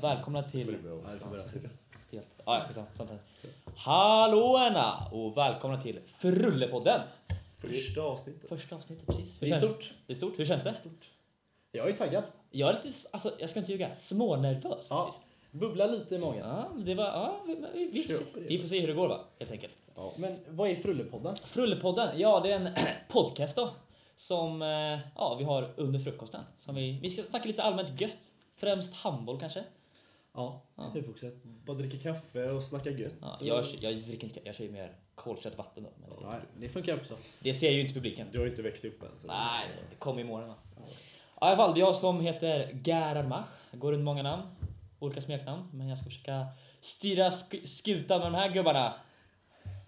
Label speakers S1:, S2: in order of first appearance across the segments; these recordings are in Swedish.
S1: välkomna till...
S2: Ja, det får vi göra.
S1: till ah, ja, skitsamma, sånt här. Hallåna och välkomna till Frullepodden!
S2: Första avsnittet.
S1: Första avsnittet precis.
S3: Det är
S1: Hur känns-
S3: stort.
S1: Det är stort. Hur känns det?
S3: Jag är taggad.
S1: Jag är lite, alltså jag ska inte ljuga, smånervös
S3: Ja.
S1: faktiskt.
S3: Bubblar lite i magen.
S1: Ja, men det var, ja, vi, vi, vi, får se-
S2: Köper det.
S1: vi får se hur det går va, helt enkelt.
S3: Men vad är Frullepodden?
S1: Frullepodden, ja det är en podcast då. Som eh, ja, vi har under frukosten. Som vi, vi ska snacka lite allmänt gött. Främst handboll kanske.
S3: Ja.
S2: Huvudfokuset. Bara dricka kaffe och snacka gött.
S1: Ja, jag, jag dricker inte, jag kör ju mer kolsyrat vatten då. Men
S3: ja. Det funkar också.
S1: det ser ju inte publiken.
S2: Du har ju inte växt upp än. Så.
S1: Nej, det kommer imorgon va? Ja, I alla fall, det är jag som heter Gerhard Mach. Går runt många namn. Olika smeknamn. Men jag ska försöka styra sk- skutan med de här gubbarna.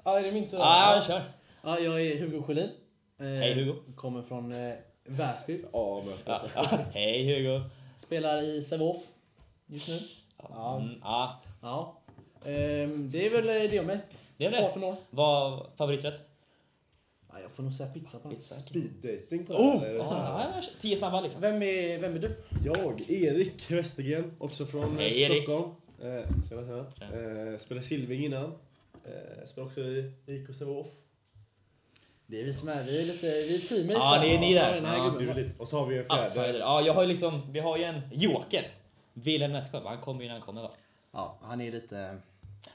S3: Ja, är det min tur?
S1: Ja, vi kör.
S3: ja, jag är Hugo Sjölin. Eh,
S1: Hej, Hugo.
S3: Kommer från eh, Väsby.
S2: Ja, men
S1: Ja, ja. Hej Hugo.
S3: Spelar i Sävehof just nu. Ja.
S1: Mm, ja.
S3: ja. Ehm, det är väl eh, det om mig.
S1: Det är väl det.
S3: 18 år.
S1: Vad favoriträtt?
S3: Ja, jag får nog säga pizza på den.
S1: Pizza.
S2: speeddating på det
S1: Oh!
S2: här, eller?
S1: Ja, ja, tio snabba liksom.
S3: Vem är, vem är du?
S2: Jag, Erik Westergren, också från eh,
S1: Hej, Erik.
S2: Stockholm. Eh, tjena, tjena. Eh, spelade Silving innan. Eh, spelade också i IK Sävehof.
S3: Det är vi som är. Vi är lite, vi är teammates.
S1: Ja,
S3: här.
S1: det är ni
S3: Och så har
S1: där.
S3: vi Den här
S2: Det
S1: Ja,
S2: är
S3: gubben.
S2: väl lite- Och så har vi en
S1: Outsider.
S2: fjärde.
S1: Ja, jag har ju liksom, vi har ju en joker. Wilhelm Nettsjö. Han kommer ju när han kommer va?
S3: ja, han är lite...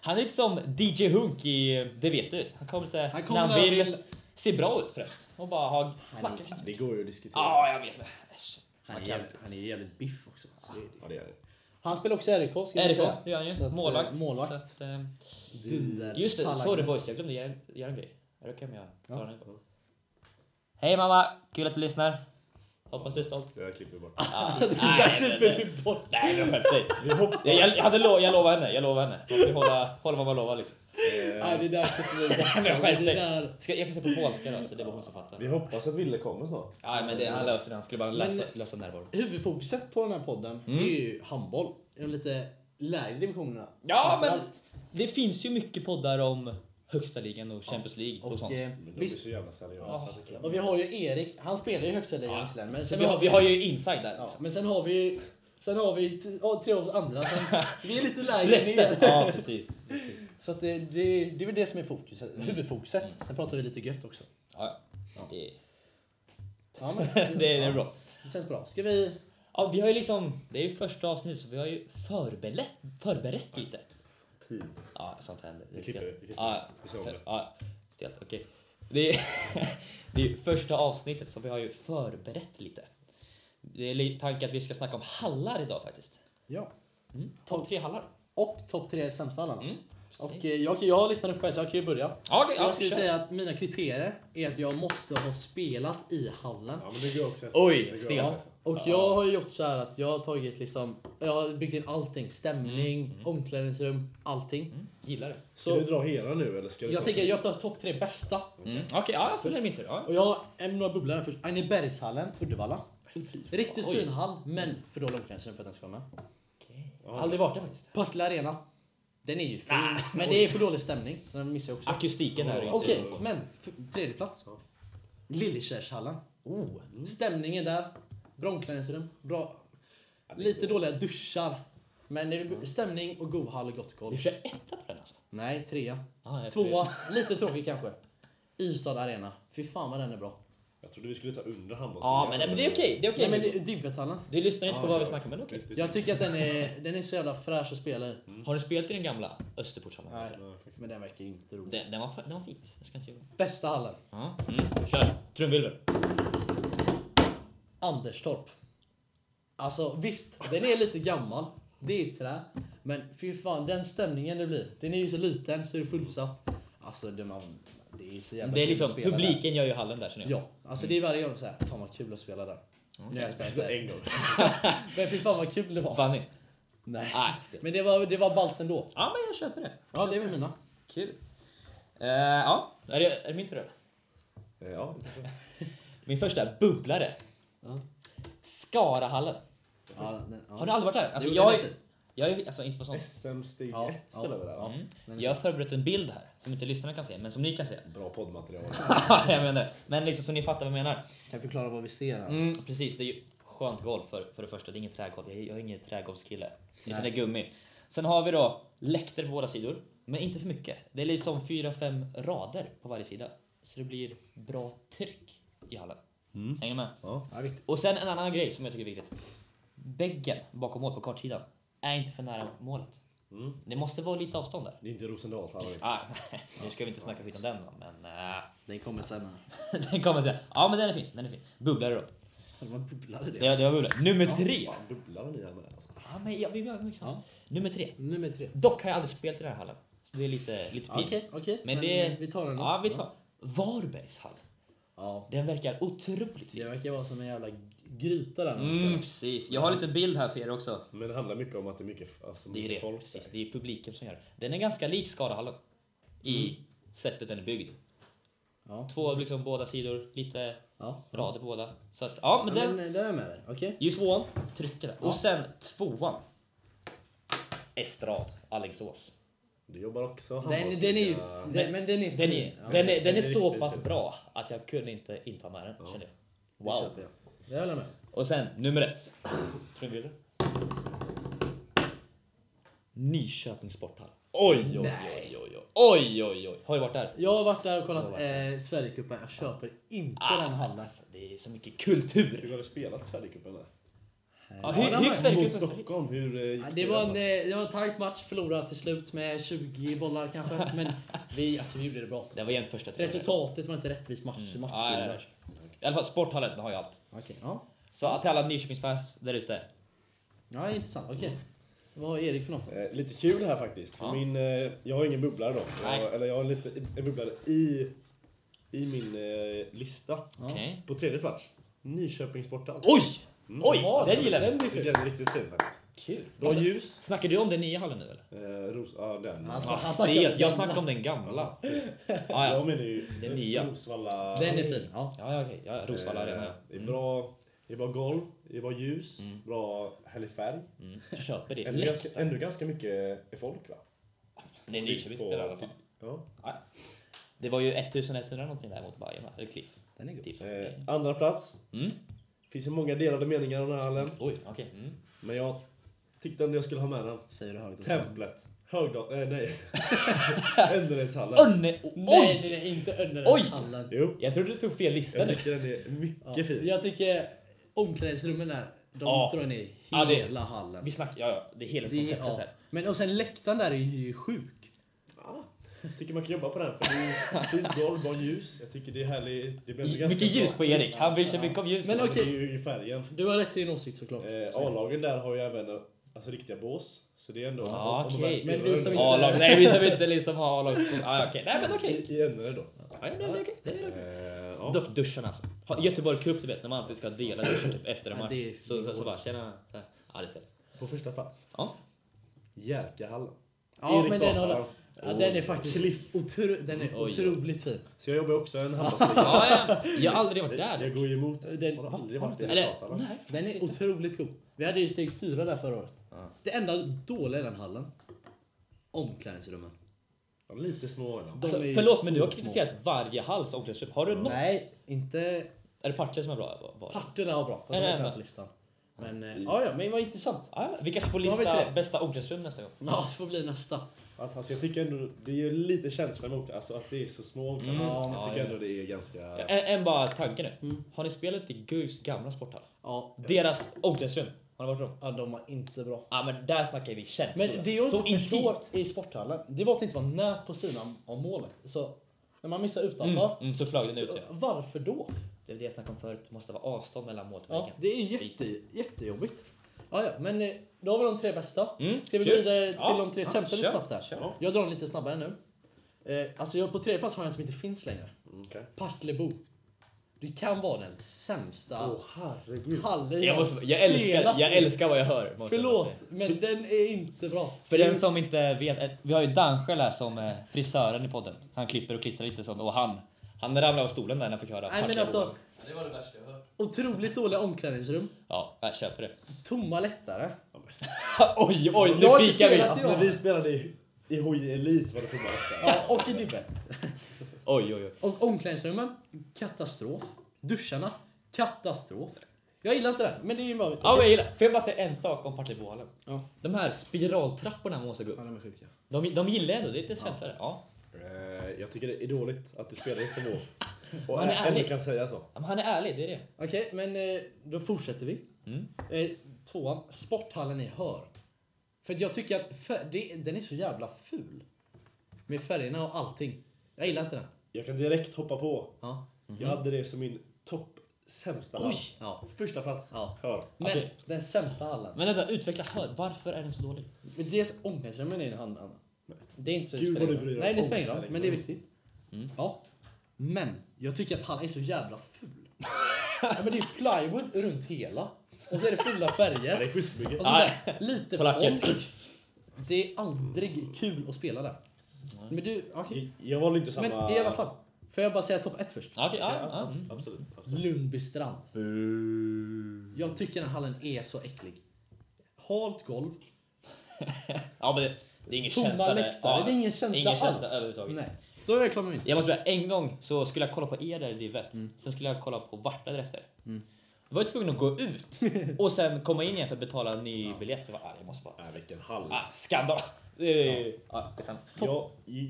S1: Han är lite som DJ Hunk i Det vet du. Han kommer lite
S3: Han
S1: när
S3: kommer
S1: han
S3: när han
S1: vill.
S3: vill.
S1: Se bra ut förresten. Och bara ha... Snacka.
S2: Det går ju att diskutera.
S1: Ja, jag vet. Äsch.
S3: Han är,
S1: Okej.
S3: jävligt, han är jävligt biff också. Så det är-
S2: Ja, det är det.
S3: Han spelar också RIK, ska vi
S1: RIK,
S3: säga.
S1: det gör han
S3: Så
S1: ju.
S3: att, eh,
S1: Målvakt.
S3: målvakt.
S1: Så att, eh,
S3: Dunder.
S1: just det,
S3: talang.
S1: sorry boys, jag glömde göra en, göra en grej. Är det okej om jag tar
S3: Ja.
S1: den? här? Hej mamma, kul att du lyssnar. Hoppas du är stolt.
S2: Det där klipper vi bort.
S1: Ah,
S3: Där
S1: nej,
S3: klipper
S1: nej,
S3: vi typ bort.
S2: Eh.
S1: nej, men skämt dig.
S2: Vi hoppar.
S1: Jag, jag, jag, hade lo- jag lovade henne, jag lovade henne. Man får ju hålla, hålla vad man lovar liksom.
S3: Nej, det där klipper vi bort.
S1: Men skämt
S3: Det
S1: dig.
S3: där.
S1: Ska, jag kan se på polska då, så det var hon som fattade.
S2: Vi hoppas att Ville kommer snart.
S1: Ja, men det, han löser det. Han skulle bara lösa,
S3: Men-
S1: lösa närvaron.
S3: Huvudfokuset på den här podden
S1: Mm.
S3: det är ju handboll. I de lite lägre divisionerna.
S1: Ja, men
S3: framförallt.
S1: det finns ju mycket poddar om högsta ligan och Champions League och, sånt.
S3: Och, eh,
S2: Men de är
S3: visst,
S2: så jävla seriösa.
S1: Ah.
S2: tycker jag.
S3: och vi har ju Erik, han spelar ju i högsta ligan
S1: Ja.
S3: visserligen. Men,
S1: Men
S3: sen
S1: vi, har, vi har ju inside där.
S3: ja,
S1: Liksom.
S3: men sen har vi ju Sen har vi t- ja, tre av oss andra. Sen, vi är lite lägre
S1: liksom. Resten!
S3: ner.
S1: Ja, precis.
S3: Så att det, det, det är väl det som är fokuset,
S1: Mm.
S3: huvudfokuset. Sen pratar vi lite gött också.
S1: Ja, ja. det,
S3: Ja, men,
S1: det är bra.
S3: Det känns bra. Ska vi...
S1: Ja, vi har ju liksom, det är ju första avsnittet så vi har ju förberett, förberett lite.
S2: Tid.
S1: Ja, sånt händer. Det är
S2: klipper det,
S1: stelt.
S2: vi klipper
S1: Ja,
S2: det. Vi kör om det.
S1: ja, stelt. Okej. Det är, det är ju första avsnittet så vi har ju förberett lite. Det är li- tanken att vi ska snacka om hallar idag faktiskt. Mm.
S3: Ja.
S1: Topp tre hallar.
S3: Och topp tre sämsta hallarna.
S1: Mm,
S3: Och eh, jag, jag har listan uppe här så jag kan ju börja.
S1: Ja, okej, ja,
S3: jag skulle
S1: kör.
S3: säga att mina kriterier är att jag måste ha spelat i hallen.
S2: Ja, men det går också. att-
S1: Oj,
S2: det går
S1: sten.
S2: också.
S3: Och jag har ju gjort så här att jag har tagit liksom, jag har byggt in allting. Stämning,
S1: Mm,
S3: omklädningsrum, allting.
S1: Gillar det.
S2: Ska du
S3: Så
S2: dra hela nu eller ska du
S3: jag
S2: ta-
S3: tänker jag tar topp tre bästa.
S1: Mm. Okej, ja, så är det min tur. Ja.
S3: Och jag har en- några bubblor här först. Agnebergshallen, Uddevalla. Riktigt
S1: Oj.
S3: fin hall, men för dålig omklädningsrum för att den ska vara med.
S1: Okej. Aldrig varit där faktiskt.
S3: Partille Arena. Den är ju fin, men det är för dålig stämning. Så den missar jag också.
S1: Akustiken är ju inte
S3: Okej,
S1: så bra.
S3: men f- tredje plats. Lillekärrshallen. Oh. Stämningen där. Bra omklädningsrum. Bra. Lite dåliga duschar. Men det är stämning och god hall och gott golv.
S1: Du kör etta på den alltså?
S3: Nej, trea.
S1: Ja, jag tror
S3: Tvåa. Lite tråkig kanske. Ystad Arena. Fy fan vad den är bra.
S2: Jag trodde vi skulle ta under handbolls.
S1: Ja, men, men det är okej. Det är okej.
S3: Nej men det- Divvethallen.
S1: Du lyssnar inte på vad vi snackar om, men det är okej.
S3: Jag tycker att den är, den är så Mm. jävla fräsch att spela i.
S1: Har du spelat i den gamla Österportshallen?
S3: Nej, men den verkar ju inte rolig.
S1: Den, den, var, fa- den var fin. Jag ska inte ljuga.
S3: Bästa hallen.
S1: Ja. Mm. Kör. Trumvirvel.
S3: Anderstorp. Alltså visst, den är lite gammal. Det är trä. Men fy fan, den stämningen det blir. Den är ju så liten så är det fullsatt. Alltså det, man, det är så jävla
S1: Det är
S3: kul
S1: liksom,
S3: att spela
S1: publiken gör ju hallen där känner
S3: Där.
S1: jag.
S3: Ja, alltså det är varje gång såhär, fan vad kul att spela där.
S1: Mm.
S3: Nu har jag spelat där.
S2: En gång.
S3: Men fy fan vad kul det var.
S1: Vann ni?
S3: Nej.
S1: Nej, stelt.
S3: Men det var, det var ballt ändå.
S1: Ja, men jag köper det.
S3: Ja, det är väl mina.
S1: Kul. Eh, ja, är det, är det min tur eller?
S2: Eh, Ja,
S1: Min första bubblare.
S3: Ja.
S1: Skarahallen.
S3: Ja, den, ja.
S1: Har du aldrig varit där? Alltså,
S3: Jo,
S1: jag,
S3: den är
S1: är-
S3: fin.
S1: jag är alltså inte för sånt.
S2: SM steg
S3: Ja,
S2: 1
S3: ja,
S2: spelar vi där.
S3: ja.
S2: va?
S3: Den är
S1: Jag har förberett en bild här som inte lyssnarna kan se, men som ni kan se.
S2: Bra poddmaterial.
S1: jag menar det. Men liksom så ni fattar vad jag menar.
S3: Kan jag förklara vad vi ser här?
S1: Mm, precis, det är ju skönt golv för, för det första. Det är inget trägolv. Jag, är- jag är ingen trägolvskille. Utan det är gummi. Sen har vi då läkter på båda sidor. Men inte för mycket. Det är liksom fyra fem rader på varje sida. Så det blir bra tryck i hallen.
S3: Mm.
S1: Hänger ni med?
S3: Ja, viktigt.
S1: Och sen en annan grej som jag tycker är viktigt. Väggen bakom mål på kortsidan är inte för nära målet. Det måste vara lite avstånd där.
S2: Det är inte Rosendals hallå.
S1: Ah, nu ska vi inte snacka skit om den då, men... eh,
S3: Den kommer sen.
S1: den kommer sen. Ja men den är fin, den är fin. Bubblare då.
S3: Det var bubblare det.
S1: Det, det var bubblare. Nummer tre!
S2: Fan, bubblar ni här med alltså.
S1: Ja, men jag, vi, vi, vi,
S3: Ja.
S1: Nummer tre.
S3: Nummer tre.
S1: Dock har jag aldrig spelat i den här hallen. Så det är lite, lite
S3: Ja,
S1: pin.
S3: Okej, okej.
S1: Men det...
S3: Vi tar den då.
S1: Ja, vi tar... Varbergs hall.
S3: Ja.
S1: Den verkar otroligt
S3: Det
S1: fin.
S3: verkar vara som en jävla gryta där.
S1: Mm, precis. Jag har lite bild här för er också.
S2: Men det handlar mycket om att det är mycket, alltså,
S1: Det är
S2: mycket
S1: det.
S2: folk
S1: Precis,
S2: där.
S1: det är publiken som gör det. Den är ganska lik Skadahallen. I
S3: Mm.
S1: sättet den är byggd.
S3: Ja.
S1: Två liksom båda sidor, lite
S3: ja.
S1: rader på båda. Så att, ja men den...
S3: Mm. Men, eh, där är jag med dig. Okej.
S1: Just tvåan. Trycker där. Och sen tvåan. Estrad, Alingsås.
S2: Du jobbar också
S3: Den, den är ju...
S2: handbollsliga-
S3: Den, men den är
S1: Den
S3: fin.
S1: är,
S3: Ja,
S1: den är, den är
S2: den är
S1: så
S2: riktigt
S1: pass
S2: fin.
S1: bra att jag kunde inte inte ha med den, kände jag.
S3: det
S1: Wow.
S3: köper jag. Det håller jag med.
S1: Och sen nummer ett. Trumvirvel. Nyköpings sporthall. Oj, oj, oj, oj, oj, oj, oj, oj. Har du varit där?
S3: Jag Ah. har varit där och kollat eh, Sverigecupen. Jag köper inte den hallen.
S1: Alltså, det är så mycket kultur.
S2: Hur har du spelat Sverigecupen? där?
S1: Ja,
S3: den
S1: hur
S3: var-
S1: gick
S2: Mot
S1: Sverigecupen? för dig?
S2: Stockholm, hur eh, gick
S3: Ja, det,
S2: i
S3: var en,
S2: den?
S3: eh, det var en tajt match. Förlorade till slut med 20 bollar kanske. Men vi, alltså, vi gjorde det bra.
S1: Det var jämnt första tre.
S3: Resultatet var inte rättvist match, mm.
S1: Ja, ja, ja.
S3: matchbilder.
S1: I alla fall sporthallen den har ju allt.
S3: Okej, ja.
S1: Så till alla Nyköpingsfans där ute.
S3: ja, intressant. Okej. Vad har Erik för något då?
S2: Eh, Lite kul här faktiskt. För
S1: Ja.
S2: Min, eh, jag har ingen bubblare då.
S1: Nej.
S2: Jag, eller jag har lite, en bubblare i, i min eh, lista.
S1: Okej.
S2: På tredje plats. Nyköpings borta.
S1: Oj! Oj, den gillar
S2: jag.
S1: jag. Alltså-
S2: Den är, den är riktigt fin faktiskt.
S1: Kul.
S2: Bra ljus.
S1: Snackar du om den nya hallen nu eller?
S2: Eh, ros, ja, den.
S3: Han snackar-
S1: Ah,
S3: han snackar
S1: stelt. Jag
S3: gamla.
S1: snackade om den gamla. Ah, ja,
S2: Jag menar ju
S1: Den nya.
S2: Rosvalla. Eh,
S3: Den är fin. Ja.
S1: ja, ja, okej. Ja, Rosvalla arena, ja.
S2: Det är bra, det är bra golv, det är bra ljus, bra härlig färg.
S1: Mm. Köper det.
S2: Ändå ganska,
S1: Läktaren.
S2: ändå ganska mycket folk va?
S1: Det är Nyköping
S2: På-
S1: spelar i alla fall.
S2: Ja.
S1: Ja. Det var ju 1100 någonting där mot Bayern va? Eller Cliff?
S3: Den är god.
S1: Cliff.
S2: Eh, andra plats.
S1: Mm.
S2: Finns ju många delade meningar om den här hallen.
S1: Oj, okej. Mm.
S2: Men jag tyckte ändå jag skulle ha med den.
S3: Säger du högt. och snabbt.
S2: Templet. Högdal... Eh, nej. Önneredshallen.
S1: Önne!
S3: Nej,
S1: Oj!
S3: den är inte under
S1: Oj!
S3: den hallen.
S2: Jo.
S1: Jag trodde du tog fel lista
S2: Jag
S1: nu.
S2: tycker den är mycket
S3: Ja.
S2: fin.
S3: Jag tycker omklädningsrummen där, de
S1: Ja.
S3: drar ner
S1: Ja, det-
S3: hela hallen.
S1: Vi snackar, ja, ja, det är hela
S3: Det är,
S1: konceptet
S3: ja.
S1: här.
S3: Men och sen läktaren där är ju sjuk.
S2: Ja. Jag tycker man kan jobba på den. För det är fint golv, bra ljus. Jag tycker det är härligt. Det blir ändå ganska
S1: Mycket ljus
S2: bra. typ.
S1: på Erik, han bryr sig mycket om ljus.
S3: Men
S2: Men
S3: okej.
S2: Det är ju i färgen.
S3: Du har rätt till din åsikt såklart.
S2: Eh, A-lagen där har ju även alltså, riktiga bås. Så det är ändå...
S1: Ja,
S2: om de väl
S1: Ah, okej.
S2: spelar
S3: Men vi som
S2: under-
S1: A-lag, nej vi som inte liksom har A-lagsskola. Ah, okej, nej men okej.
S2: I, i Önnered då.
S1: Ja, men det är okej, det är okej.
S2: Eh, ja.
S1: Dock duschen alltså. Ha- Göteborg Cup du vet när man alltid ska dela duschen typ efter en
S3: Ja,
S1: match.
S3: det är
S1: Så, så, så bara tjena. Så här. Ja det är ställt.
S2: På första plats.
S1: Ja.
S2: Jerkahallen.
S3: ja, men den,
S2: Eriksdalshallen.
S3: har, ja, den är faktiskt
S2: Cliff.
S3: otro, den är
S1: Oj, oj.
S3: otroligt fin.
S2: Så jag jobbar också i en handbollsliga.
S1: Ja, ja. Jag har aldrig varit där.
S2: Jag går ju emot.
S3: Den-
S2: har aldrig varit i
S1: Eller
S2: Eriksdalshallen.
S1: nej.
S3: Den är otroligt god. Vi hade ju steg fyra där förra året. Det enda dåliga i den hallen, omklädningsrummen.
S2: De är Lite små är de.
S3: De
S1: Alltså,
S3: är ju
S1: förlåt men
S3: så
S1: du har
S3: små.
S1: kritiserat varje halls omklädningsrum. Har du något?
S3: Nej, inte
S1: Är det Partille som är bra? Var- Ja,
S3: Partnerna var bra.
S1: Är
S3: Fast
S1: det
S3: de var
S1: enda?
S3: med på listan. Men, eh, ja, ja, men vad intressant.
S1: ja. Vilka ska på
S3: Då har vi
S1: lista
S3: tre.
S1: bästa omklädningsrum nästa gång?
S3: Ja, det får bli nästa.
S2: Alltså, alltså, jag tycker ändå, det är ju lite känsla emot det, alltså att det är så små omklädningsrum.
S3: Mm.
S2: Jag
S1: Ja,
S2: tycker
S1: ja.
S2: ändå det är ganska...
S1: En, en bara tanke nu. Har ni spelat i Guifs gamla sporthall?
S3: Ja,
S1: Deras omklädningsrum. Har ni varit i dem?
S3: ja, de var inte bra.
S1: Ja men där snackar vi känslor.
S3: Men det jag
S1: så
S3: inte förstår
S1: intimt.
S3: i sporthallen, det var att det inte var nät på sidan om målet. Så när man missar utanför,
S1: Mm, så flög den ut ja.
S3: så- varför då?
S1: Det är det jag snackade om förut. Det måste vara avstånd mellan målet och
S3: Ja,
S1: väggen.
S3: det är jätte, jättejobbigt. Ja, ja, men eh, då har vi de tre bästa.
S1: Mm,
S3: Ska vi gå
S1: kul.
S3: vidare till
S1: Ja,
S3: de tre
S1: ja,
S3: sämsta lite
S1: kör,
S3: snabbt där?
S1: kör.
S3: Jag drar den lite snabbare nu. Eh, alltså jag på tredje plats har jag en som inte finns längre.
S2: Mm, okej.
S3: Partillebo. Det kan vara den sämsta
S2: Åh herregud.
S3: hallen
S1: Jag, måste, jag, älskar,
S3: spelat
S1: jag
S3: i.
S1: älskar vad jag hör. måste jag
S3: Förlåt,
S1: bara säga.
S3: men den är inte bra.
S1: För den som inte vet, ett- vi har ju Danschel här som eh, frisören i podden. Han klipper och klistrar lite sånt och han, han ramlade av stolen där när han fick höra.
S3: Nej men
S1: Partille
S3: alltså,
S1: Bo.
S4: Det var det värsta jag hört.
S3: otroligt dåliga omklädningsrum,
S1: Ja, jag köper det.
S3: tomma läktare.
S1: oj, oj,
S3: Jag har
S1: nu
S3: inte
S1: pikar vi!
S3: spelat i-
S2: Alltså, när vi spelade i, i HJ Elit var det tomma läktare.
S3: Ja, och i dibbet.
S1: Oj, oj, oj.
S3: Och omklädningsrummen, katastrof. Duscharna, katastrof. Jag gillar inte den, men det är ju bara...
S1: Ja, men jag gillar. Får jag bara säga en sak om Partillebohallen?
S3: Ja.
S1: De här spiraltrapporna man måste gå
S3: Ja,
S1: upp.
S3: de är sjuka.
S1: De, de gillar jag ändå, det är lite svenskare. Ja.
S2: Eh, jag tycker det är dåligt att du spelar i Strömov. Och
S1: Man är
S2: ändå
S1: ärlig.
S2: kan säga så.
S1: Ja, Men han är ärlig, det är det.
S3: Okej, men eh, då fortsätter vi.
S1: Mm.
S3: Eh, tvåan, sporthallen i Hör. För att jag tycker att fär- det, den är så jävla ful. Med färgerna och allting. Jag gillar inte den.
S2: Jag kan direkt hoppa på.
S3: Ja.
S2: Jag hade det som min topp sämsta hall.
S3: Ja.
S2: Första plats.
S3: Ja.
S2: Hör.
S3: Men
S1: Okej.
S3: den sämsta hallen.
S1: Men vänta, utveckla. Hör, varför är den så dålig?
S3: Men det är så ångestdrömmen i den hallen. Det är inte så det
S2: Gud,
S3: spelar
S2: vad du
S3: ingen
S2: bryr
S3: roll.
S2: dig
S3: Nej,
S2: om
S3: det spelar ingen roll,
S2: ångest,
S3: men det är
S2: liksom.
S3: viktigt. Ja. Men jag tycker att hallen är så jävla ful. ja, men det är plywood runt hela. Och så är det fulla
S2: Ja, det är
S3: färger.
S2: fuskbygge.
S3: Och så där, lite
S1: Polacker.
S3: folk. Det är aldrig kul att spela där. Men du, okej.
S2: Jag- Jag valde inte samma...
S3: Men i alla fall. Får jag bara säga topp ett först?
S1: Ja, Okej,
S2: Ja,
S1: ja, ja.
S2: abs- absolut. absolut.
S3: Lundby strand. Jag tycker den hallen är så äcklig. Halt golv,
S1: ja men det, det är ingen känsla
S3: tomma
S1: där.
S3: läktare.
S1: Ja,
S3: Det är ingen känsla
S1: ingen känsla
S3: alls.
S1: överhuvudtaget.
S3: Nej. Då är jag klar med min.
S1: Jag måste säga, en gång så skulle jag kolla på er där i divet.
S3: Mm.
S1: Sen skulle jag kolla på Varta därefter. Då var jag tvungen att gå ut och sen komma in igen för att betala en ny biljett. Så jag var arg, jag måste bara...
S2: Nej, vilken hall.
S1: Ah, skandal! Eh, Ja, det är sant.
S2: Jag,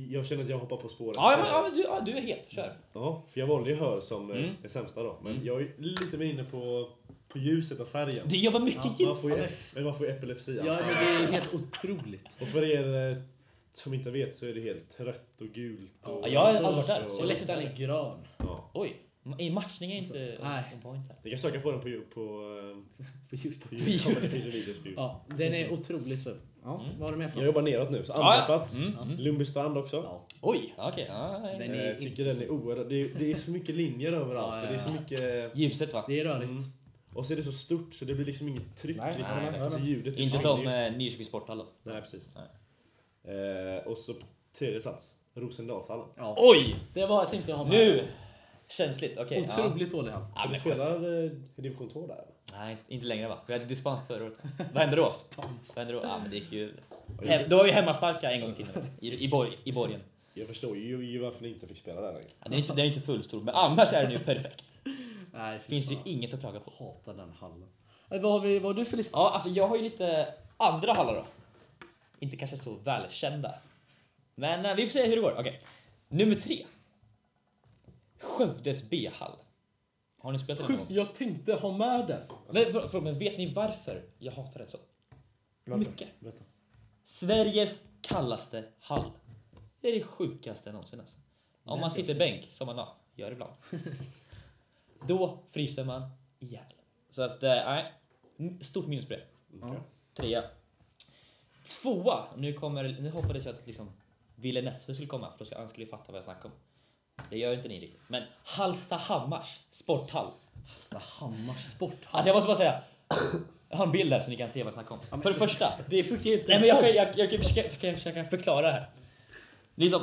S2: jag känner att jag hoppar på spåret.
S1: Ja, men, ja, men du, ja, du är het. Kör.
S2: Ja, för jag valde ju hör som mm. det sämsta då. Men jag är lite mer inne på, på ljuset och färgen.
S1: Du jobbar mycket
S2: Man
S1: ljus.
S2: får ju, men man får ju epilepsi.
S3: Ja,
S2: alltså.
S3: men det är helt otroligt.
S2: Och för er eh, som inte vet så är det helt rött och gult. Och,
S1: Ja, jag har
S3: Så-
S1: aldrig varit där. Så
S3: Och
S1: jag vet
S3: läktaren
S1: inte.
S3: är grön.
S2: Ja.
S1: Oj, ma- i matchning är inte
S3: Nej.
S1: on point här.
S2: Ni kan söka på den på, ju- på, eh, på Youtube. Ja, men Det finns ju videos på Youtube.
S3: Ja, den är otroligt ful. Ja,
S1: Mm.
S3: vad har du med för
S2: Jag
S3: något?
S2: jobbar neråt nu, så andra
S1: Ja, ja.
S2: plats.
S1: Mm, mm.
S2: Lundbystrand också.
S3: Ja,
S1: Oj, ja, okej. ja, ja, ja.
S3: den
S2: Eh,
S3: är
S2: Jag tycker den är oerhört... Det, är- det är så mycket linjer överallt.
S3: Ja, ja,
S2: och Det är så mycket...
S1: Ljuset va?
S3: Det är rörigt.
S2: Mm. Och så är det så stort så det blir liksom inget tryck.
S3: Nej,
S2: riktigt.
S1: nej, nej.
S2: Alltså, ljudet
S1: Inte
S2: försvinner
S1: som
S2: ju.
S1: eh, Nyköpings sporthall då.
S2: Nej, precis.
S1: Nej.
S2: Eh, och så på tredje plats, Rosendalshallen.
S3: Ja.
S1: Oj!
S3: Det var jag tänkte ha med.
S1: Nu! Känsligt, okej. ja.
S3: Otroligt dålig hall.
S1: Ja,
S2: Så du
S1: men-
S2: spelar eh, i division 2 där?
S1: Nej, inte längre va? Vi hade dispens förra året. Vad hände då?
S3: Dispens.
S1: Vad hände då? Ja, men det gick ju... Hem, då var vi hemmastarka en gång i tiden. vet du. I, i, borg, i borgen.
S2: Jag förstår ju, ju varför ni inte fick spela där längre.
S1: Ja, den, är inte, den är inte fullstor, men annars är den ju perfekt.
S3: Nej, fy
S1: Finns det ju
S3: fan.
S1: inget att klaga på.
S3: Hatar den hallen. Eh, Vad har, vi, vad har du för lista?
S1: Ja, alltså jag har ju lite andra hallar då. Inte kanske så välkända. Men eh, vi får se hur det går. Okej. Nummer tre. Skövdes B-hall. Har ni spelat den någon
S3: Sjukt,
S1: gång?
S3: jag tänkte ha med den.
S1: Men, för, för, men vet ni varför jag hatar den så? Mycket.
S3: Berätta.
S1: Sveriges kallaste hall. Det är det sjukaste någonsin. Alltså. Om man sitter bänk, som man ja, gör ibland, då fryser man ihjäl. Så att, eh, nej. stort minus på det.
S2: Okej.
S1: Trea. Tvåa. Nu, kommer, nu hoppades jag att liksom Ville Nessberg skulle komma för då skulle han skulle ju fatta vad jag snackar om. Det gör inte ni riktigt. Men Hallstahammars sporthall.
S3: Hammars sporthall.
S1: Alltså jag måste bara säga. Jag har en bild här så ni kan se vad jag snackar om. För det första.
S3: Det funkar inte.
S1: Nej men jag kan, jag, jag kan försöka, försöka, försöka förklara det här. Det är som,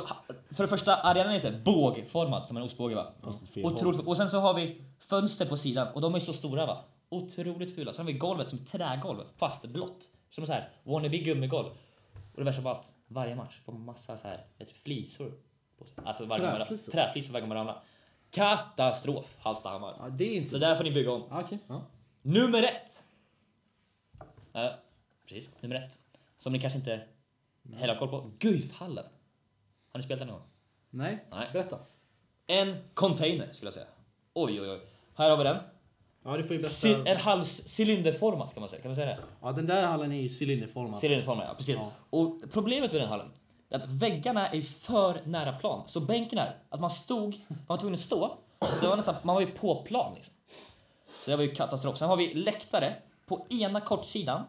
S1: för det första, arenan är så här bågformad som en ostbåge va?
S2: fel
S1: Otroligt, och sen så har vi fönster på sidan och de är så stora va? Otroligt fula. Sen har vi golvet som trägolv fast blått. Som så här wannabe gummigolv. Och det värsta av allt, varje match får man massa så här vet, du, flisor. På sig. Alltså varje gång man,
S3: Träflisor?
S1: träflisor varje gång man ramlar. Katastrof Hallstahammar.
S3: Ja, det är
S1: Så
S3: inte...
S1: där får ni bygga om.
S3: Ah, Okej. Ja.
S1: Nummer ett. Ja, precis. Nummer ett. Som ni kanske inte heller har koll på. Guifhallen. Har ni spelat den någon gång?
S3: Nej.
S1: Nej.
S3: berätta.
S1: En container skulle jag säga. Oj, oj, oj. Här har vi den.
S3: Ja, du får ju bästa...
S1: Cy- en halv cylinderformad kan man säga. Kan man säga det?
S3: Ja, den där hallen är ju cylinderformad.
S1: Cylinderformad, ja. Precis.
S3: Ja.
S1: Och problemet med den hallen är att väggarna är för nära plan. Så bänken här, att man stod, man var tvungen att stå. Så det var nästan, man var ju på plan liksom. Så det var ju katastrof. Sen har vi läktare på ena kortsidan.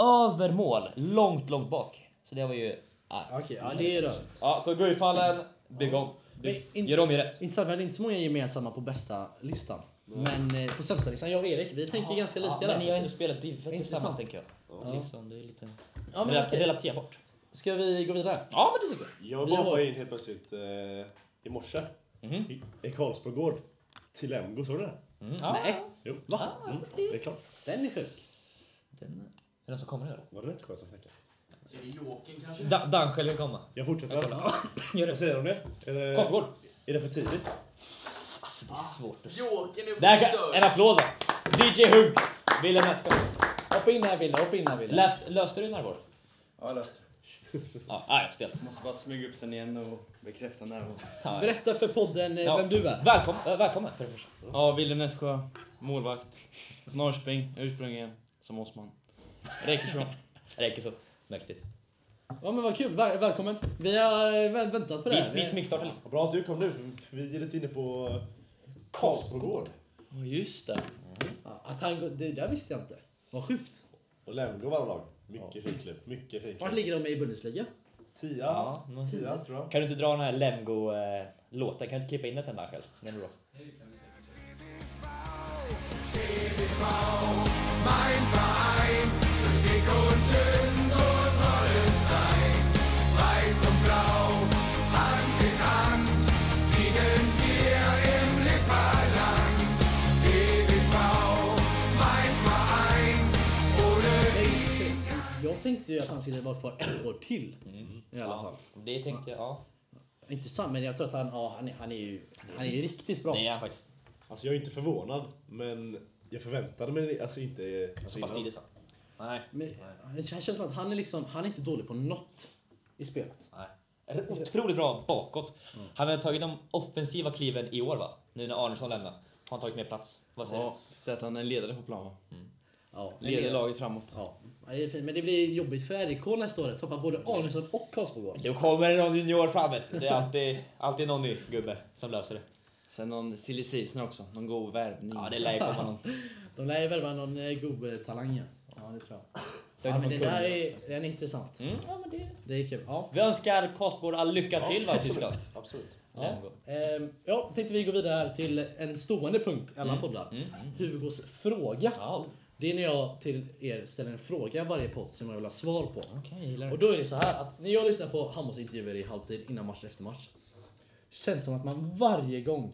S1: Över mål, långt, långt bak. Så det var ju... ah.
S3: Okej, ja det är rörigt.
S1: Ja, så Guifallen, bygg om. Bygg.
S3: Men in-
S1: Gör om, gör rätt.
S3: Intressant, vi hade inte så många gemensamma på bästa listan. Men eh, på sämsta listan, jag och Erik, vi tänker ganska lika
S1: ja,
S3: där.
S1: Men ni har ändå spelat Divet
S3: Intressant.
S1: tillsammans tänker jag. Det är Liksom, det är lite...
S3: Ja, men
S1: Rel-
S3: okej.
S1: Relaterbart.
S3: Ska vi gå vidare?
S1: Ja, men det tycker jag.
S2: Jag
S3: Vi har-
S2: var in helt plötsligt eh, i morse.
S1: Mhm.
S2: I, I Karlsborg gård. Till Emgo, såg du det?
S1: Mm, ja.
S3: Nej,
S2: Jo.
S3: Va?
S2: Mm, det är klart.
S3: den är sjuk.
S1: Den, är det någon som kommer nu då?
S2: Var det rätt skönt som snackade?
S4: Är det Jokern kanske?
S1: Da, Dansjö kan komma.
S2: Jag fortsätter.
S1: Gör
S2: Vad
S1: det.
S2: säger du om det? Är det,
S1: Karlsborg.
S2: är det för tidigt?
S1: Svårt.
S4: Jokern är
S1: Där
S4: vår
S1: kan,
S4: frisör!
S1: en applåd va? DJ Hugg! Ville Mattsjö.
S3: Hoppa in här Wille, hoppa in här Wille.
S1: Läs- Löste du Narvor?
S5: Ja, löst.
S1: Ja, nej, stelt.
S5: Måste bara smyga upp sen igen och bekräfta närvaron.
S1: Ja.
S3: Berätta för podden eh,
S1: Ja.
S3: vem du är.
S1: Välkom, äh, välkommen för det första.
S5: Ja, Wilhelm Nässjö, målvakt. Från Norrköping, ursprungligen som Osman. Räcker så.
S1: Det räcker så. Mäktigt.
S3: Ja men vad kul, Väl- välkommen. Vi har eh, vä- väntat på det
S1: Vi,
S3: här.
S1: vi smygstartar lite.
S2: Vad bra att du kom nu, för vi är lite inne på eh, Karlsbrogård.
S5: Ja, just det.
S3: Ja, Att han, går- det där visste jag inte. Vad sjukt.
S2: Och Lemgo vann lag. Mycket fint klubb. Mycket fint
S3: Vart
S2: klubb.
S3: ligger de i Bundesliga?
S2: Tia.
S1: Ja, men-
S2: Tia, tror jag.
S1: Kan du inte dra den här Lemgo-låten? Kan du inte klippa in den sen, Angel? Den är bra.
S3: Jag tänkte ju att han skulle vara kvar ett år till. I alla fall.
S1: Det tänkte jag, ja.
S3: Inte sant, men jag tror att han, ja, han, är, han är ju han är ju riktigt bra.
S1: Det är han faktiskt.
S2: Alltså jag är inte förvånad, men jag förväntade mig det, alltså inte... Alltså,
S1: Så pass
S2: innan.
S1: tidigt så. Nej.
S3: Men det känns som att han är, liksom, han är inte dålig på något i spelet.
S1: Nej. R- Otroligt bra bakåt. Han har tagit de offensiva kliven i år, va? Nu när Arnesson lämnar. Har han tagit mer plats? Vad säger
S5: Ja, så att han är ledare på plan. va?
S3: Ja,
S5: Leder laget framåt.
S3: Ja, ja, det är fint. Men det blir jobbigt för RIK nästa år. Tappa både Arnesson och Karlsborg.
S1: du? Då kommer det någon junior fram, vet du. Det är alltid, alltid någon ny gubbe som löser det.
S5: Sen någon silly season också. Någon god värvning.
S1: Ja, det lär ju komma någon.
S3: De lär ju värva någon eh, god eh, talang. ja. Ja, det tror jag.
S1: Säkert
S3: Ja, men
S1: från
S3: det
S1: Kungälv.
S3: där är, den är intressant.
S1: Mm, ja, men det...
S3: Det är kul. Ja.
S1: Vi önskar Karlsborg all lycka till, va, i Tyskland?
S2: Absolut.
S3: Ja.
S1: Lemgo.
S3: Ehm, ja, tänkte vi gå vidare här till en stående punkt i alla
S1: Mm.
S3: poddar. Hugos fråga.
S1: Ja,
S3: Det är när jag till er ställer en fråga varje podd som jag vill ha svar på.
S1: okej, jag gillar
S3: Och
S1: det.
S3: då är det så här att när jag lyssnar på Hammars intervjuer i halvtid innan match och efter match. Känns som att man varje gång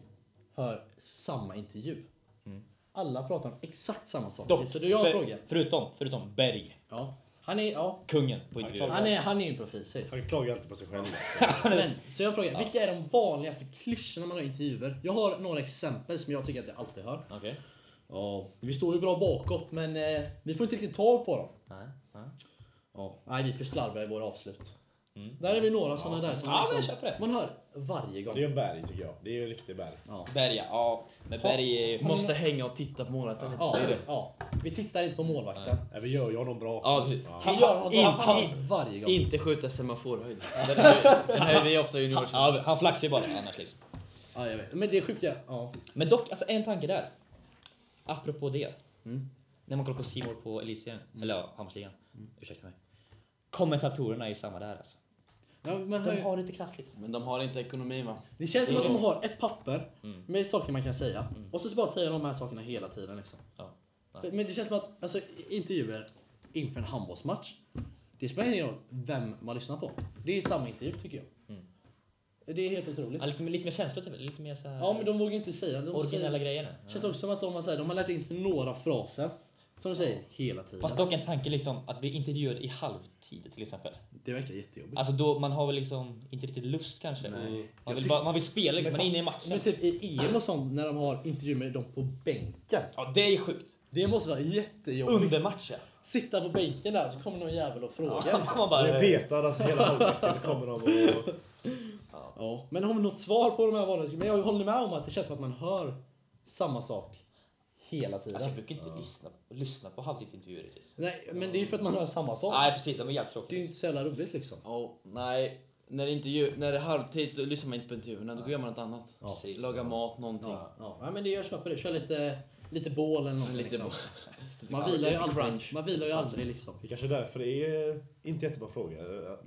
S3: hör samma intervju. Mm. Alla pratar om exakt samma sak.
S1: Dock,
S3: så det är jag
S1: för-
S3: frågar.
S1: förutom, förutom Berg,
S3: Ja. Han är, ja.
S1: kungen på intervjun.
S3: Han är, han är ju en profil, säg.
S2: Han klagar alltid på sig själv.
S3: Men, så jag frågar, vilka är de vanligaste klyschorna man har i intervjuer? Jag har några exempel som jag tycker att jag alltid hör.
S1: Okej.
S3: Ja. Vi står ju bra bakåt, men eh, vi får inte riktigt tag på dem.
S1: Nej, nej.
S3: Ja. Nej, vi är för slarviga i våra avslut. Där är vi några sådana där som liksom-
S1: Ja, men jag köper det.
S3: man hör varje gång.
S2: Det är en berg, tycker jag. Det är ju en riktig berg.
S1: Berg, ja. ja. Men Berg är ju...
S5: Måste hänga och titta på målvakten.
S3: Ja, ja. Vi tittar inte på målvakten.
S2: Nej, vi gör ju honom bra.
S1: Ja, precis.
S3: Vi gör honom
S1: In-
S3: bra varje gång.
S5: Inte skjuta semaforhöjd. Den är- den är vi ofta junior.
S1: Ja, han flaxar ju bara annars liksom.
S3: Ja, jag vet. Men det är sjukt. Ja. Ja.
S1: Men dock, alltså en tanke där. Apropå det. Mm. När man kollar på Simor på Elitserien, eller ja, Hammarsligan. Ursäkta mig. Kommentatorerna är samma där alltså.
S3: Ja, men hör
S1: De
S3: ju-
S1: har lite krassligt.
S5: Men de har inte ekonomin va?
S3: det känns som att de har ett papper
S5: Mm.
S3: med saker man kan säga. Och så bara säger de här sakerna hela tiden. Liksom.
S1: Ja. Ja.
S3: För- Men det känns som att alltså, i- intervjuer inför en handbollsmatch. Det spelar ingen roll vem man lyssnar på. Det är samma intervju tycker jag.
S5: Mm.
S3: Det är helt otroligt.
S1: Ja, lite, lite mer känslor typ. Lite mer så här
S3: Ja men de vågar inte säga. De
S1: originella
S3: säger,
S1: grejer nu.
S3: känns också som att de har, så här, de har lärt in sig några fraser. Som de säger hela tiden.
S1: Fast dock en tanke liksom att bli intervjuad i halvtid till exempel.
S3: Det verkar jättejobbigt.
S1: Alltså då man har väl liksom inte riktigt lust kanske. Man
S3: Jag
S1: vill,
S3: tyck-
S1: bara, man vill spela liksom,
S3: Men
S1: man är
S3: fan-
S1: inne i matchen.
S3: Men typ i EM och sånt när de har intervjuer med dem på bänken.
S1: Ja, det är sjukt.
S3: Det måste vara jättejobbigt.
S1: Under matchen.
S3: Sitta på bänken där så kommer någon jävel och frågar.
S1: Ja,
S3: liksom.
S1: man
S2: Vi är
S1: bara...
S2: petade, alltså hela halvleken kommer de och...
S3: Ja. Men har vi något svar på de här vanliga? Men jag håller med om att det känns som att man hör samma sak hela tiden.
S1: Alltså jag brukar inte lyssna, lyssna på halvtidsintervjuer riktigt.
S3: Nej, men det är ju för att man hör samma sak.
S1: Nej precis, de är jävligt
S3: Det är ju
S1: tråkiga.
S3: inte så jävla roligt liksom.
S5: Ja, nej. När det, inte, ju- när det är halvtid så lyssnar man inte på intervjuerna. Då gör man något annat.
S3: Ja.
S5: Laga mat, någonting.
S3: Ja, nej, men det, jag köper det. Kör lite, lite bål eller något. Liksom. Man vilar ju
S5: lite
S3: aldrig.
S5: crunch.
S3: Man vilar ju aldrig liksom.
S2: Det kanske är därför det är inte jättebra fråga.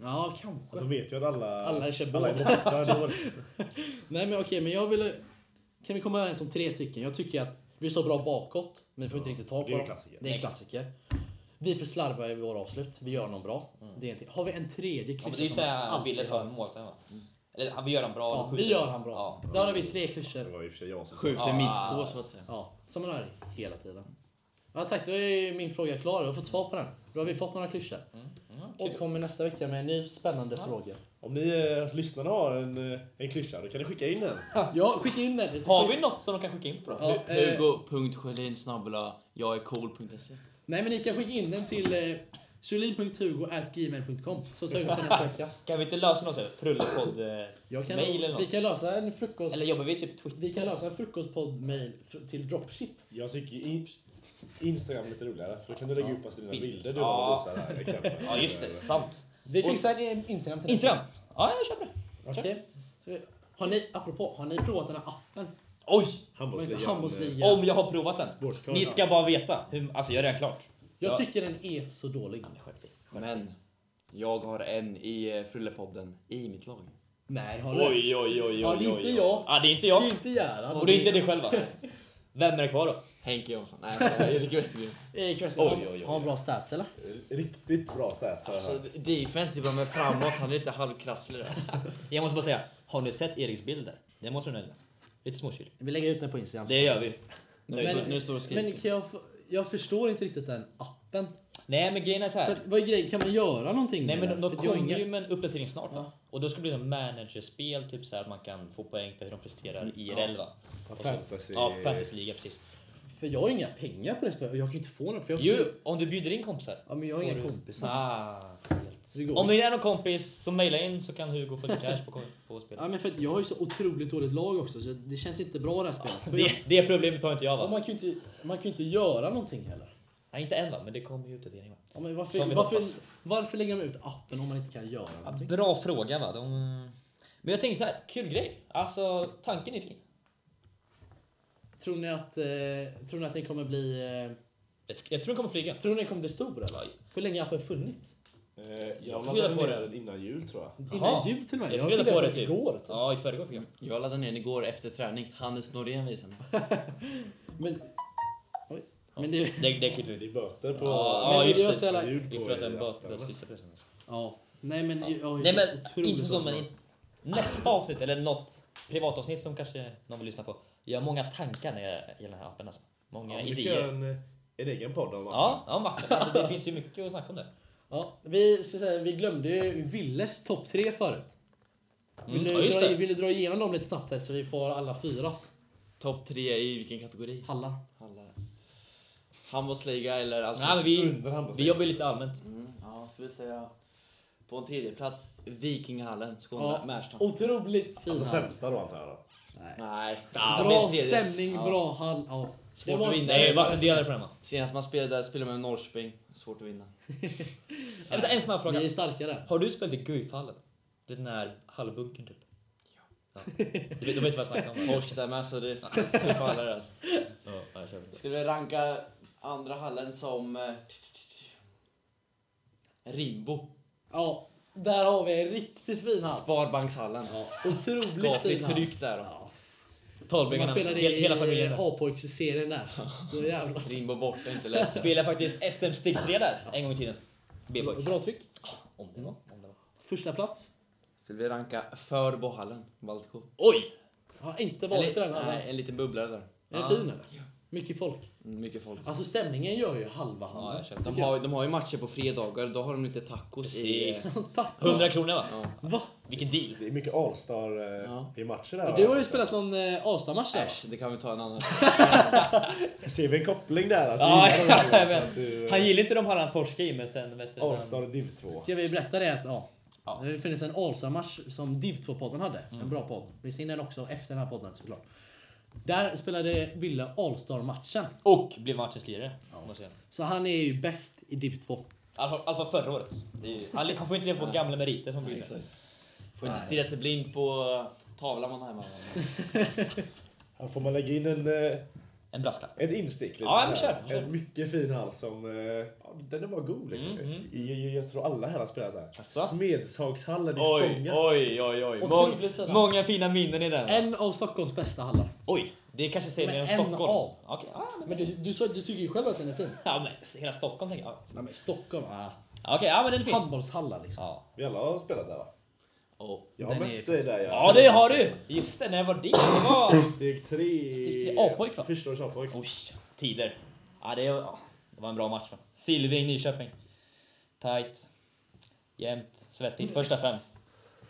S3: Ja, kanske.
S2: Att de vet ju att alla...
S3: Alla kör
S2: alla
S3: båda.
S2: är borta. dåligt.
S3: Nej men okej, men jag ville... Kan vi komma överens om tre stycken? Jag tycker att vi står bra bakåt, men vi får inte riktigt tag på
S2: det är en
S3: dem.
S2: klassiker.
S3: Det är en klassiker. Vi är för slarviga i våra avslut. Vi gör någon bra.
S5: Mm.
S3: Det är en till. Har vi en tredje
S1: Ja, men
S3: klyscha
S1: det är ju
S3: som
S1: såhär
S3: alltid
S1: Wille sa
S3: hör?
S1: med målvakten va? Eller han- vi gör han bra.
S3: Ja,
S1: han
S3: vi
S1: skjuter.
S3: gör han bra.
S1: Ja.
S3: Där har vi tre
S2: Det
S3: klyschor.
S2: var i och för sig jag som sa
S5: Skjuter
S1: Ja.
S5: mitt på så att säga.
S3: Ja, som man hör
S1: Mm,
S3: hela tiden. Ja, tack, då är min fråga klar. Jag har fått svar på den. Då har vi fått några klyschor. återkommer nästa vecka med en ny spännande fråga.
S2: Om ni eh, lyssnare har en, eh, en klyscha, då kan ni skicka in den.
S3: Ja, skicka in den.
S1: Har vi något som de kan skicka in på då?
S3: Ja, eh,
S5: Hugo.Sjölin snabbla jag är cool.se
S3: nej, men ni kan skicka in den till eh, sulin.hugo.gmail.com så tar vi upp den nästa vecka.
S1: Kan vi inte lösa något sånt? Frullepodd... eh,
S3: Jag kan,
S1: Mail eller något.
S3: vi kan lösa en frukost...
S1: Eller jobbar vi typ Twitter?
S3: vi kan lösa en frukostpodd-mail fr- till Dropship.
S2: Jag tycker in, Instagram är lite roligare, för då kan du lägga upp alltså dina
S1: Bild.
S2: bilder du
S1: Ja.
S2: har och visar här. Exempel.
S1: Ja just det, sant.
S3: Vi
S1: Och-
S3: fixar en Instagram till
S1: Instagram? Ja, jag köper det.
S3: nästa vecka. Okej. Så, Har ni, apropå, har ni provat den här appen?
S1: Oj!
S3: Vad heter
S2: Handbollsligan.
S3: det?
S2: eh,
S3: Handbollsligan.
S1: Om jag har provat den.
S2: Sportkartan.
S1: Ni ska bara veta. Hur, alltså jag är redan klart.
S3: Jag
S1: Ja.
S3: tycker den är så dålig.
S5: Men jag har en i eh, Frullepodden i mitt lag.
S3: Nej,
S2: eh,
S3: har du?
S1: Oj, oj, oj, oj,
S3: Ja, det är
S1: oj,
S3: inte
S1: oj.
S3: jag.
S1: Ja, det är inte
S3: Det
S1: jag.
S3: är inte Gerhard.
S1: Och det är inte du själva. Vem är det kvar då?
S5: Henke Jansson. Nej, men Erik Westergren.
S3: Erik
S1: Oj, oj, oj.
S3: Westerholm, har han bra stats eller?
S2: Riktigt bra stats har jag
S5: Alltså,
S2: hört.
S5: defense, det är bara med framåt. Han är lite halvkrasslig där.
S1: Jag måste bara säga, har ni sett Eriks bilder? Det måste du nöjd med. Lite småkyl.
S3: Vi lägger ut den på Instagram.
S1: Det gör vi.
S5: Nu,
S3: Men-
S5: nu står det och
S3: Men
S5: skriker.
S3: kan jag, få- jag förstår inte riktigt den appen.
S1: Nej men grejen är så
S3: För
S1: här.
S3: att, vad är grejen? Kan man göra någonting
S1: Nej
S3: med
S1: men
S3: den?
S1: de
S3: För att jag har
S1: kommer
S3: inga-
S1: ju med en uppdatering snart va?
S3: Ja.
S1: Och då ska det bli som managerspel, typ så här att man kan få poäng för hur de presterar i IRL va? Och så-
S2: Fantasy.
S1: Ja, fantasyliga precis.
S3: För jag har inga pengar på det spelet och jag kan ju inte få något. För jag
S1: Jo, om du bjuder in kompisar.
S3: Alltså, Ja, men jag har
S1: får
S3: inga
S1: du-
S3: kompisar.
S1: Ah, helt.
S3: Det går
S1: Om
S3: inte.
S1: det är någon kompis som mejlar in så kan Hugo få lite cash på, på spelet.
S3: Ja, men för att jag har ju så otroligt dåligt lag också så det känns inte bra det här spelet. För jag,
S1: Det, det problemet har inte jag
S3: och
S1: va?
S3: man kan ju inte, man kan ju inte göra någonting heller.
S1: Nej, inte än va, men det kommer ju uppdatering va?
S3: Ja, men
S1: Som vi
S3: varför, varför,
S1: hoppas.
S3: varför lägger man ut appen om man inte kan göra
S1: Ja,
S3: någonting?
S1: Bra fråga va. De... Men jag tänker så här, kul grej. Alltså tanken är fin.
S3: Tror ni att, eh, tror ni att den kommer bli... Eh,
S1: Jag, tr- jag tror den kommer flyga.
S3: tror ni den kommer bli stor eller?
S1: Ja,
S3: Hur länge har appen funnits?
S2: Eh,
S1: Jag
S2: Jag
S1: får
S2: laddade
S1: reda på
S2: ner
S1: det.
S2: den innan jul tror jag.
S1: Jaha.
S3: Innan jul till och med.
S1: Jag fick reda på det typ.
S3: igår. typ.
S1: Ja, i förrgår fick jag.
S5: Jag laddade ner den igår efter träning. Hannes Norén visade mig.
S3: Men, oj, men det,
S1: Det, det klipper
S2: Det
S1: vi.
S2: är böter på...
S1: Ja,
S3: men
S1: just
S3: jag
S1: det.
S3: ställer-
S2: ljud
S1: Det är
S2: på
S1: för att den
S2: i
S1: bör-
S2: appen, va?
S1: bör pressen.
S3: ja. Nej men jag har ju
S1: Nej
S3: så
S1: men
S3: otroligt
S1: inte för så,
S3: bra
S1: men
S3: lag.
S1: i nästa avsnitt eller något privatavsnitt som kanske någon vill lyssna på. Jag har många tankar när jag gäller den här appen alltså. Många
S2: Ja, men vi
S1: idéer.
S2: kör en, eh, en egen podd om
S1: Ja, ja mappen. Alltså, det finns ju mycket att snacka om där.
S3: Ja, vi, ska säga, vi glömde ju Villes topp tre förut. Vill,
S1: Mm,
S3: du
S1: ja, just
S3: dra,
S1: det.
S3: vill du dra igenom dem lite snabbt här så vi får alla fyras?
S5: Topp tre i vilken kategori?
S3: Alla.
S5: Halla. Handbollsliga eller allt
S1: Nej, men vi,
S2: Undrar han vad
S1: vi jobbar ju lite allmänt.
S5: Mm, ja, skulle jag säga. På en tredje plats Vikingahallen, Skåne,
S3: Ja,
S5: Märsta.
S3: otroligt
S2: Den
S3: fina.
S2: Alltså, sämsta då antar jag då.
S5: Nej.
S3: Bra stämning, bra hall. Ja.
S5: Svårt
S3: Det
S5: att
S3: var,
S5: vinna.
S1: Nej, vattendelare på den va?
S5: Senast man spelade där spelade man med Norrköping. Svårt att vinna.
S1: Vänta, en snabb fråga.
S3: vi är starkare.
S1: Har du spelat i Guifallen? Den här hallbunkern typ? Ja. Du vet, du vet vad jag snackar om? va?
S5: Torsk där med så det är tuffa hallar där. alltså.
S1: Ja, jag kör det.
S5: Skulle vi ranka andra hallen som... eh, Rimbo.
S3: Ja, där har vi en riktigt fin hall.
S5: Sparbankshallen.
S3: Ja, otroligt fin
S5: Skapligt
S3: hall.
S5: tryck där. då.
S3: Ja. Man
S1: Talbringarna,
S3: spelade
S1: hela, hela
S3: i
S1: familjen.
S3: A-pojksserien där. Då jävlar.
S5: Rimbo borta, inte lätt.
S1: Spelade faktiskt SM steg 3 där en gång i tiden. B-pojk.
S3: Bra tryck.
S1: Om det var. Om det var.
S3: Första plats.
S5: Skulle vi ranka Förbohallen, Baltko.
S1: Oj!
S3: Har inte varit i den
S5: Eller,
S3: hallen.
S5: nej, en liten bubblare där.
S3: Är den fin eller? Mycket folk.
S5: Mm, Mycket folk.
S3: Alltså stämningen gör ju halva
S1: Ja,
S3: hallen.
S1: jag köpte.
S5: De har, de har ju matcher på fredagar, då har de lite tacos i...
S1: Precis.
S3: Tack.
S1: 100 kronor va?
S5: Ja.
S3: Va?
S1: Vilken deal.
S2: Det är mycket Allstar eh,
S5: Ja.
S2: i matcher där.
S3: Du
S2: va?
S3: har ju spelat någon eh, Avsta-match där.
S5: Äsch, det kan vi ta en annan.
S2: Ser vi en koppling där? Att
S1: Ja,
S2: du
S1: ja,
S2: gillar dem,
S1: men
S2: att du-
S1: Han gillar inte de här han torskade i men sen vet du...
S2: Allstar och div 2.
S3: Ska vi berätta det att ja.
S1: Ja.
S3: Det finns en Allstar-match som Div 2-podden hade. En bra podd. Vi ser in den också efter den här podden såklart. Där spelade Wille Allstar-matchen.
S1: Och blev matchens lirare. måste jag säga.
S3: Så han är ju bäst i Div 2.
S1: I alla fall- i alla fall förra året. Det är ju- Han han får inte leva på gamla meriter som brukar säga.
S5: Får inte stirra sig blind på tavlan man har hemma.
S2: Här får man lägga in en, eh,
S1: En brasklapp.
S2: ett instick. lite
S1: Ja, men
S2: så här.
S1: kör, kör.
S2: En mycket fin hall som... eh, Ja, den är bara god liksom.
S1: Mm,
S2: Jag, jag, jag tror alla här har spelat där.
S1: Asså?
S2: Smedshagshallen i
S1: Oj,
S2: Spånga.
S1: oj, oj, oj.
S3: Otroligt fina.
S1: Mång- Många fina minnen i den. va?
S3: En av Stockholms bästa hallar.
S1: Oj, det kanske säger mer
S3: Men
S1: om
S3: en
S1: Stockholm.
S3: av.
S1: Okej, ja, men,
S3: Men du, du, sa, du tycker ju själv att den är fin.
S1: ja, men hela Stockholm tänker jag.
S3: Nej men Stockholm, ah.
S1: Ja, Okej, ja men den är fin.
S3: handbollshallar liksom.
S1: Ja,
S2: Vi alla har spelat där va?
S5: Och
S2: Jag
S3: Den
S2: har
S3: är
S2: mött dig
S3: faktiskt-
S2: där.
S1: ja det har du! Just det, när jag var dit. Det var...
S2: Steg tre.
S1: Steg tre, A-pojk, va?
S2: Första års A-pojk.
S1: Oj, tider. Ja, det, ja, det var en bra match. Va? Silving, Nyköping. Tight. jämnt, svettigt första fem.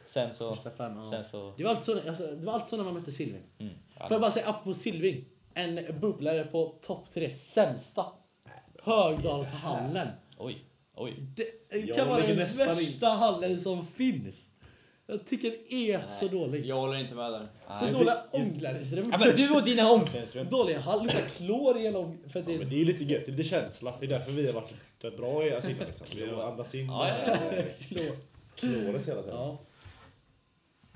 S1: Sen så...
S3: Första fem, ja.
S1: Sen så...
S3: Det var alltid så, alltså, det var alltid så när man mötte Silving.
S1: Mm,
S3: Får jag
S1: ja.
S3: bara säga, apropå Silving. En bubblare på topp tre sämsta. Högdalshallen.
S1: Oj, oj.
S3: Det
S2: Jag
S3: kan vara
S2: ligger
S3: den
S2: nästan
S3: värsta hallen som finns. Jag tycker den är så dålig.
S5: Jag håller inte med där.
S3: Så dåliga omklädningsrum.
S1: Ja, men du och dina omklädningsrum.
S3: Dåliga hall, luktar klor i hela om- för att
S2: Ja,
S3: det
S2: men det är ju lite gött, det är lite känsla. Det är därför vi har varit rätt bra i alltså, innan, liksom. Vi har andats in
S1: Ja, ja, ja.
S2: eh,
S3: klor.
S2: kloret hela tiden.
S3: Ja.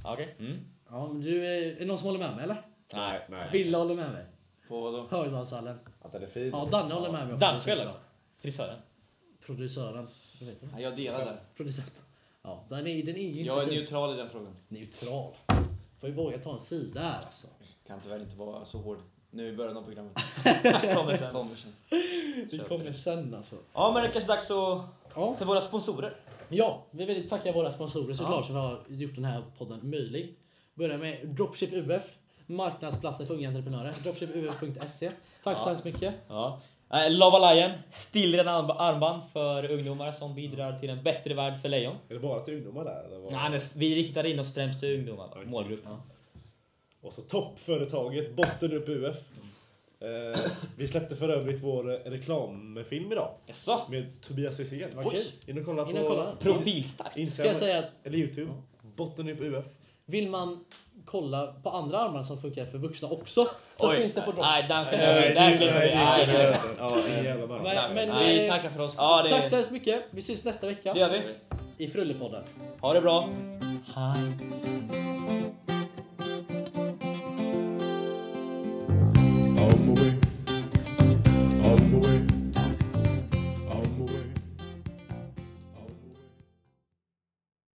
S1: Ja, Okej. Mm.
S3: ja, men du, är är det någon som håller med mig eller?
S2: Nej, nej.
S3: Villa håller med mig.
S5: På vadå?
S3: Högdalshallen.
S2: Att den är fin.
S3: Ja, Danne håller med mig också.
S1: Dansspel alltså. Frisören.
S3: Producören. Vad heter han?
S5: Nej, Jag delar där.
S3: Producenten. Ja, den är, den är ju
S5: Jag är
S3: inte så
S5: neutral i den frågan.
S3: neutral. Får ju våga ta en sida här alltså.
S5: Kan tyvärr inte vara så hård nu i början av programmet.
S1: Kommer sen.
S5: Kommer sen.
S3: Det kommer sen alltså.
S1: Ja, men det är kanske dags att...
S3: Ja.
S1: För våra sponsorer.
S3: Ja, vi vill tacka våra sponsorer såklart som har gjort den här podden möjlig. Börja med Dropship UF, marknadsplatsen för unga entreprenörer. Dropshipuf.se. E. Tack så hemskt mycket.
S1: Ja. Eh, Lava Lion, stillrena arm- armband för ungdomar som bidrar till en bättre värld för lejon.
S2: Är det bara till ungdomar där? Eller vad?
S1: Nej, men vi riktar in oss främst till ungdomar, målgrupp.
S2: Och så toppföretaget Botten upp UF. Eh, vi släppte för övrigt vår eh, reklamfilm idag.
S1: Jaså?
S2: Med Tobias Hysén.
S3: Vad kul.
S2: In och kolla
S3: In och
S2: på
S3: kolla.
S1: Profilstarkt.
S3: Ska jag
S2: Instagram
S3: säga att
S2: eller Youtube. Botten upp UF.
S3: vill man kolla på andra armar som funkar för vuxna också så
S1: Oj.
S3: finns det på Dropship.
S1: Nej, den klipper vi. Där klipper vi. Nej, nej, nej.
S2: Nej,
S3: Men, men,
S5: Vi
S3: eh,
S5: tackar för oss.
S1: Ja,
S3: tack så
S1: det,
S3: hemskt mycket. Vi syns nästa
S1: det
S3: vecka
S1: gör vi.
S3: i Frullepodden.
S1: Ha det bra. Hej.